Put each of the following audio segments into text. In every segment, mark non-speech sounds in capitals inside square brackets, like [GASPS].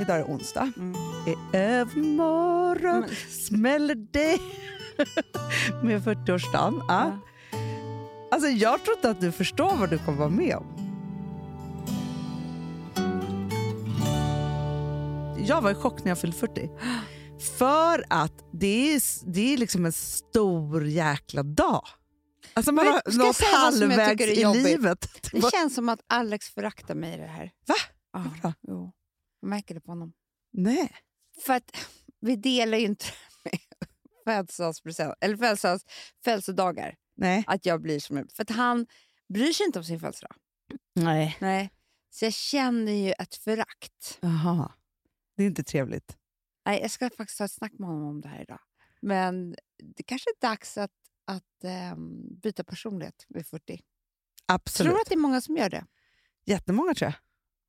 Idag är det onsdag. Mm. I övermorgon Men- smäller det [LAUGHS] med 40-årsdagen. Ja. Ja. Alltså, jag tror inte att du förstår vad du kommer vara med om. Jag var i chock när jag fyllde 40. [GASPS] För att det är, det är liksom en stor jäkla dag. Alltså man Vet- har ska jag nått säga vad som jag halvvägs tycker är i jobbigt? livet. Det känns som att Alex föraktar mig i det här. Va? Ja, Vadå? jo. Jag märker det på honom. Nej. För att vi delar ju inte [LAUGHS] födelsedagspresent, eller födelsedags, födelsedagar. Nej. Att jag blir som För att han bryr sig inte om sin födelsedag. Nej. Nej. Så jag känner ju ett förakt. Jaha. Det är inte trevligt. Nej, jag ska faktiskt ta ett snack med honom om det här idag. Men det kanske är dags att, att ehm, byta personlighet vid 40. Absolut. Tror du att det är många som gör det? Jättemånga tror jag.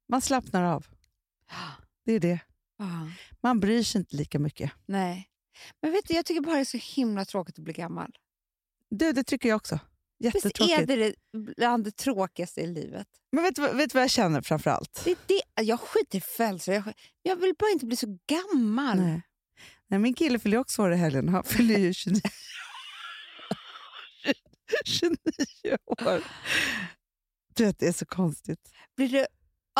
Man slappnar av. Det är det. Ja. Man bryr sig inte lika mycket. Nej. Men vet du, jag tycker bara det är så himla tråkigt att bli gammal. Du, det tycker jag också. Visst Jättetråkigt. är det det bland det tråkigaste i livet? Men vet, du vad- vet du vad jag känner framför allt? Det är det. Jag skiter i födelsedag. Jag, sk- jag vill bara inte bli så gammal. Nej. Nej, min kille fyller ju också år i helgen. Han fyller ju 29, 29 år. Du vet, det är så konstigt. Blir du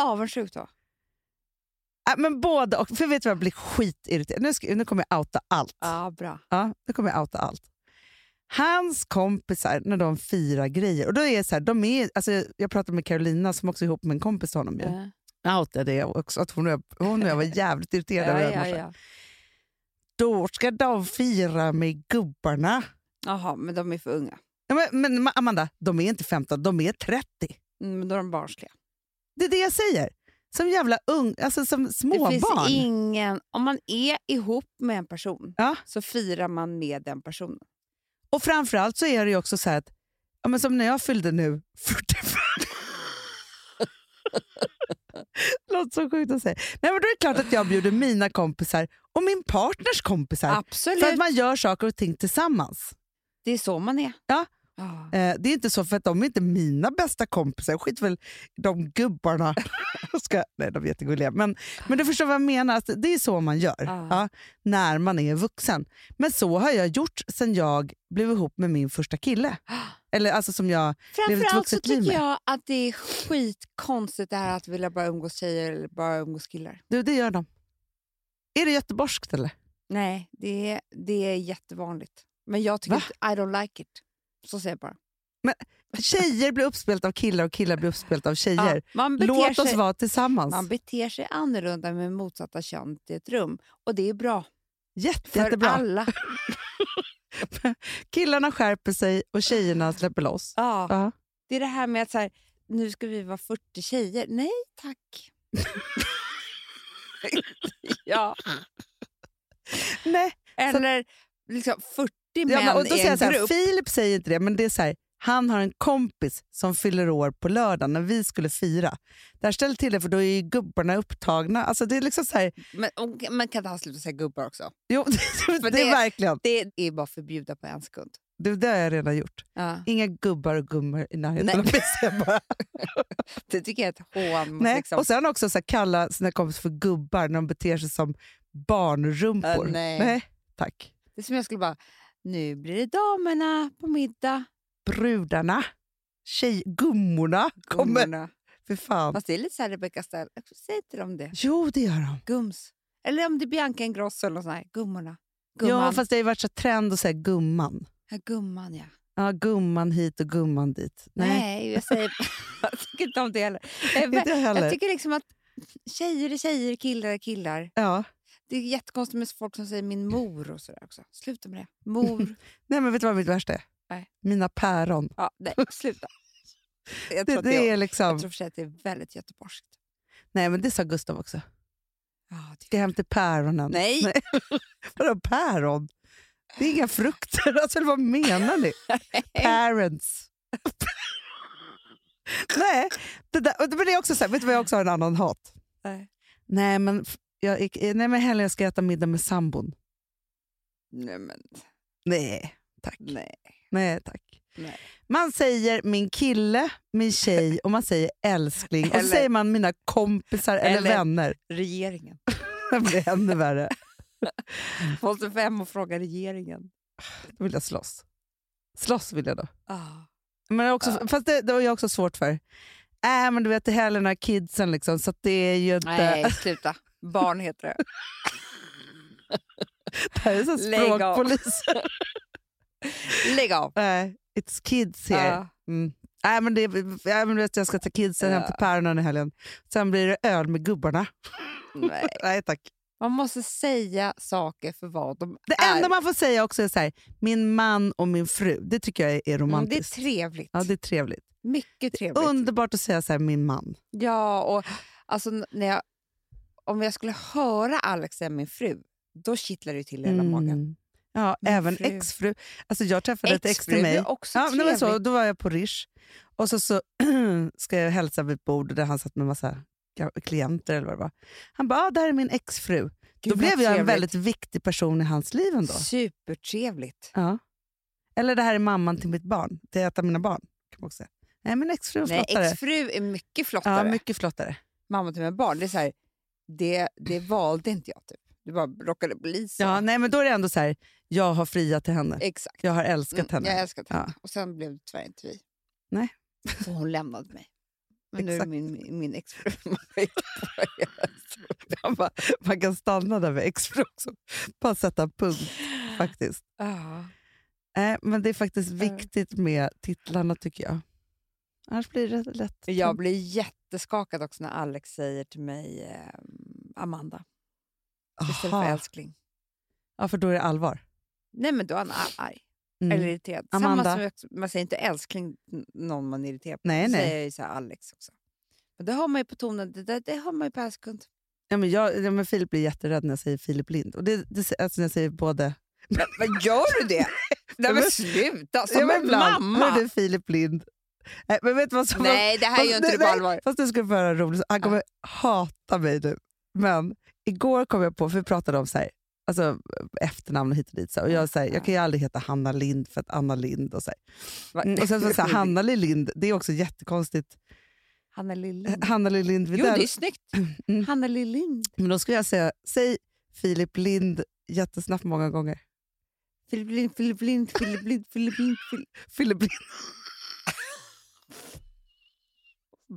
avundsjuk då? Äh, Men både och. För vet du vad, jag blir skitirriterad. Nu, ska, nu kommer jag outa allt. Ja, bra. Ja, nu kommer jag outa allt. Hans kompisar, när de firar grejer, och då är det så här, de är, alltså, jag pratade med Carolina som också är ihop med en kompis till honom. Ju. Ja, Jag outade det också, att hon och jag, hon och jag var [LAUGHS] jävligt irriterade ja, över ja, ja, ja. Då ska de fira med gubbarna. Jaha, men de är för unga. Ja, Men, men Ma- Amanda, de är inte 15, de är 30. Mm, Men då är de barnsliga. Det är det jag säger. Som jävla ung, alltså som det finns småbarn. ingen... Om man är ihop med en person Ja. så firar man med den personen. Och framförallt så är det ju också så här att, ja, men som när jag fyllde nu [LAUGHS] 45. Låter så sjukt att säga. Nej, men då är det klart att jag bjuder mina kompisar och min partners kompisar. Absolut. För att man gör saker och ting tillsammans. Det är så man är. Ah. Ja. Ja. Eh, det är inte så för att de är inte mina bästa kompisar. Jag skiter väl i de gubbarna. [LAUGHS] Jag Ska, nej, de är jättegulliga. Men, men du förstår vad jag menar. Alltså, det är så man gör Ja. ja, när man är vuxen. Men så har jag gjort sedan jag blev ihop med min första [GASPS] kille. Eller alltså som jag... ett Framförallt så vuxet liv tycker med. jag att det är skitkonstigt det här att vilja bara umgås tjejer eller bara umgås killar. Du, det gör de. Är det göteborgskt eller? Nej, det är, det är jättevanligt. Men jag tycker Va? inte, I don't like it. Så säger jag bara. Tjejer blir uppspelta av killar och killar blir uppspelta av Ja, tjejer. man, beter Låt oss sig, vara tillsammans. man beter sig annorlunda med motsatta kön i ett rum. Och det är bra. Jätte, För jättebra. [LAUGHS] alla. Killarna skärper sig och tjejerna släpper loss. Ja, Ja. det är det här med att så här, nu ska vi vara 40 tjejer. Nej [LAUGHS] tack. [LAUGHS] ja. Nej, Eller liksom 40 män Ja, men, och då i säger en jag så här, grupp. Filip säger inte det, men det är så här, han har en kompis som fyller år på lördag när vi skulle fira. Där ställer till det för då är ju gubbarna upptagna. Alltså det är liksom så här, Men och- man kan inte han sluta säga gubbar också? jo, [LAUGHS] det, För är det- verkligen, Det är bara förbjuda på en sekund. det, det har jag redan gjort. Ja. Inga gubbar och gummor i närheten. Nej. av mig, säger [LAUGHS] jag bara. Det tycker jag är ett hån mot Nej. liksom... Och sen också så här, kalla sina kompisar för gubbar när de beter sig som barnrumpor. Äh, nej. tack. Det är som jag skulle bara, nu blir det damerna på middag. Brudarna, tjej, gummorna kommer. Gummorna. Fy fan. Fast det är lite så här Rebecca Stell, säg inte dem det. Jo, det gör de. Gums. Eller om det är Bianca Ingrosso eller något sånt här, gummorna. Gumman. Ja, fast det har ju varit så trend att säga gumman. ja, gumman ja. Ja, gumman hit och gumman dit. Nej, Nej, jag säger... [LAUGHS] jag tycker inte om det heller. Eh, men inte jag heller. Jag tycker liksom att tjejer är tjejer, killar är killar. ja. Det är jättekonstigt med folk som säger min mor och sådär också. Sluta med det. Mor. Nej, men vet du vad mitt värsta är? Nej. Mina päron. Ja, nej, sluta. [LAUGHS] Jag tror, Det, att det, det är jag liksom... tror för sig att det är väldigt göteborgskt. Nej, men det sa Gustav också. Ja, det- Ska jag hem till päronen? Nej. [LAUGHS] Vadå päron? Det är inga frukter. [LAUGHS] Alltså, vad menar [LAUGHS] ni? Parents. [LAUGHS] Nej, det, där, och det- men det är också så här, vet du vad jag också har en annan hat? Nej. Nej, men, f- jag, gick- nej, men hellre jag ska äta middag med sambon. Nej, men Nej, tack. nej. Nej, tack. Nej. Man säger min kille, min tjej och man säger älskling. Och så Eller- säger man mina kompisar eller, Eller- vänner. [LAUGHS] Regeringen. Det blir ännu värre. Måste fem och fråga regeringen. Då vill jag slåss. Slåss vill jag då. Ah. Men också, Fast det, det var jag också svårt för. Äh, men du vet, det är heller några kidsen liksom, så att det är ju inte... [LAUGHS] Nej, sluta. Barn heter det. [LAUGHS] Det här är så här Lägg av. [LAUGHS] språkpolis. Lägg av. Nej, it's kids here. Ah. Mm. Nej, men det, äh, men du vet, jag ska ta kidsen hem till päronen i helgen. Sen blir det öl med gubbarna. Nej. Nej tack. Man måste säga saker för vad de Mm, Det är. enda man får säga också är så här, min man och min fru. Det tycker jag är- är Mm, det är romantiskt. trevligt. Ja, det är trevligt. Mycket trevligt. Underbart att säga så här, min man. Ja, och alltså, n- när jag, om jag skulle höra Alex är min fru, då kittlar det ju till i hela magen. Mm. Ja, Min även fru. exfru. Alltså jag träffade ett ex till Exfru mig. är också Ja, men det var trevligt. så, då var jag på Rish och så, [CLEARS THROAT] så ska jag hälsa vid ett bord där han satt med massa ga- klienter eller vad det var. Han bara, ah, det här är min exfru. Gud, då vad blev jag en trevligt. väldigt viktig person i hans liv ändå. Supertrevligt. Ja. Eller det här är mamman till mitt barn, till ett av mina barn. Kan man också säga. Nej, men exfru är Nej, flottare. exfru är mycket ja, flottare. mycket flottare. Mamma till mina barn, det är så här, det, det valde inte jag. Typ. Det bara råkade bli så. Ja, nej, men då är det ändå så här, jag har friat till henne. Exakt. Jag har Mm, älskat henne. Jag älskat henne. Ja. Och sen blev det tyvärr inte vi. Nej. Så hon lämnade mig. Men nu är det Exakt. min, min, min exfru. [LAUGHS] Man vet vad jag är. [LAUGHS] Man, bara, man kan stanna där med exfru också. Bara sätta punkt faktiskt. Ja. Nej, men det är faktiskt Mm. viktigt med titlarna tycker jag. Annars blir det lätt... Jag blir jätteskakad också när Alex säger till mig ehm, Amanda istället för Aha. älskling. Ja, för då är det allvar. Nej men då är han ar- arg Mm. eller irriterad. Amanda. Samma som jag, också- man säger inte älskling n- någon man är irriterad på. Nej, då nej. säger jag ju så här Alex också. Men det har man ju på tonen, det, det, det har man ju per sekund. Ja, men jag, ja, men Filip blir jätterädd när jag säger Filip Lind. Och det, det, alltså när jag säger både... Men, men gör du det? [LAUGHS] Nej men men- sluta, som Ja, men en ibland. Hörde mamma! du Filip Lind? Nej, men vet du vad som var Nej det här gör Fast- inte du på nej, allvar. Fast nu ska du få höra en rolig sak. Han kommer hata mig nu. Men igår kom jag på, för vi pratade om så här, alltså, efternamn och hit och dit. Så här, och jag, så här, jag kan ju aldrig heta Hanna Lind för att Anna Lind. Och, så här. Va? Mm, och sen så, så [LAUGHS] här, Hanna Lind, det är också jättekonstigt. Hanna [LAUGHS] Lillind. Hanna Lind Mm. Jo det är Widell. snyggt. Mm. Hanna Lillind. Men då skulle jag säga, säg Filip Lind jättesnabbt många gånger. Filip Lind, [LAUGHS] Filip Lind, Filip Lind, Filip Lind. Filip- Filip Lind.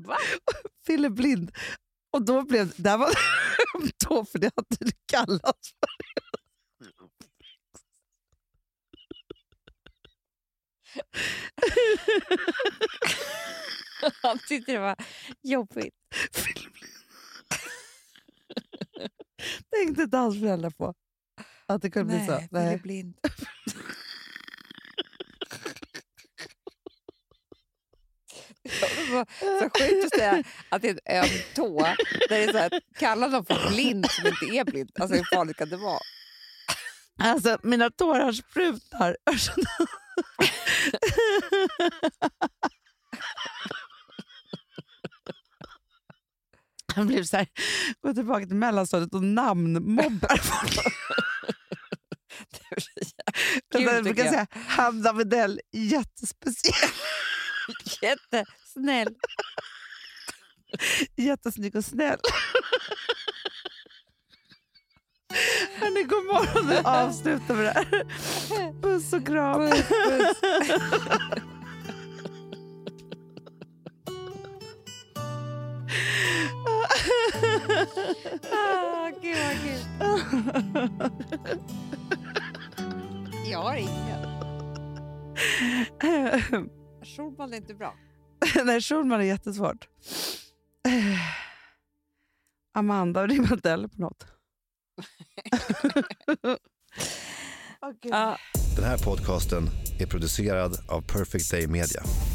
Va? Filip Lind. Och då blev det... Där var [LAUGHS] då, för det hade du kallats för. Han tyckte det var jobbigt. Filip Lind. Tänkte inte hans föräldrar på att det kunde bli så. Nej. Nej. Filip [LAUGHS] Lind. Det var så sjukt att säga att det är en öm tå. Där det är så här, kalla någon för blind som inte är blind. Alltså hur farligt kan det vara? Alltså, mina tårar [LAUGHS] sprutar. Han blev så här, gå tillbaka till mellanstadiet och namnmobbar [LAUGHS] folk. Det Kul, blir tycker jag brukar jag. säga Hanna Widell, jättespeciell, Jättesnäll. jättesnygg och snäll. Hörni, god morgon. Nu avslutar vi det här. Puss och kram. Puss, puss. [LAUGHS] Ah, gud vad kul. Jag har ingen. [LAUGHS] Schulman är inte bra. Nej, Schulman är jättesvårt. Eh, Amanda, det är modell på något. Ja. Den här podcasten är producerad av Perfect Day Media.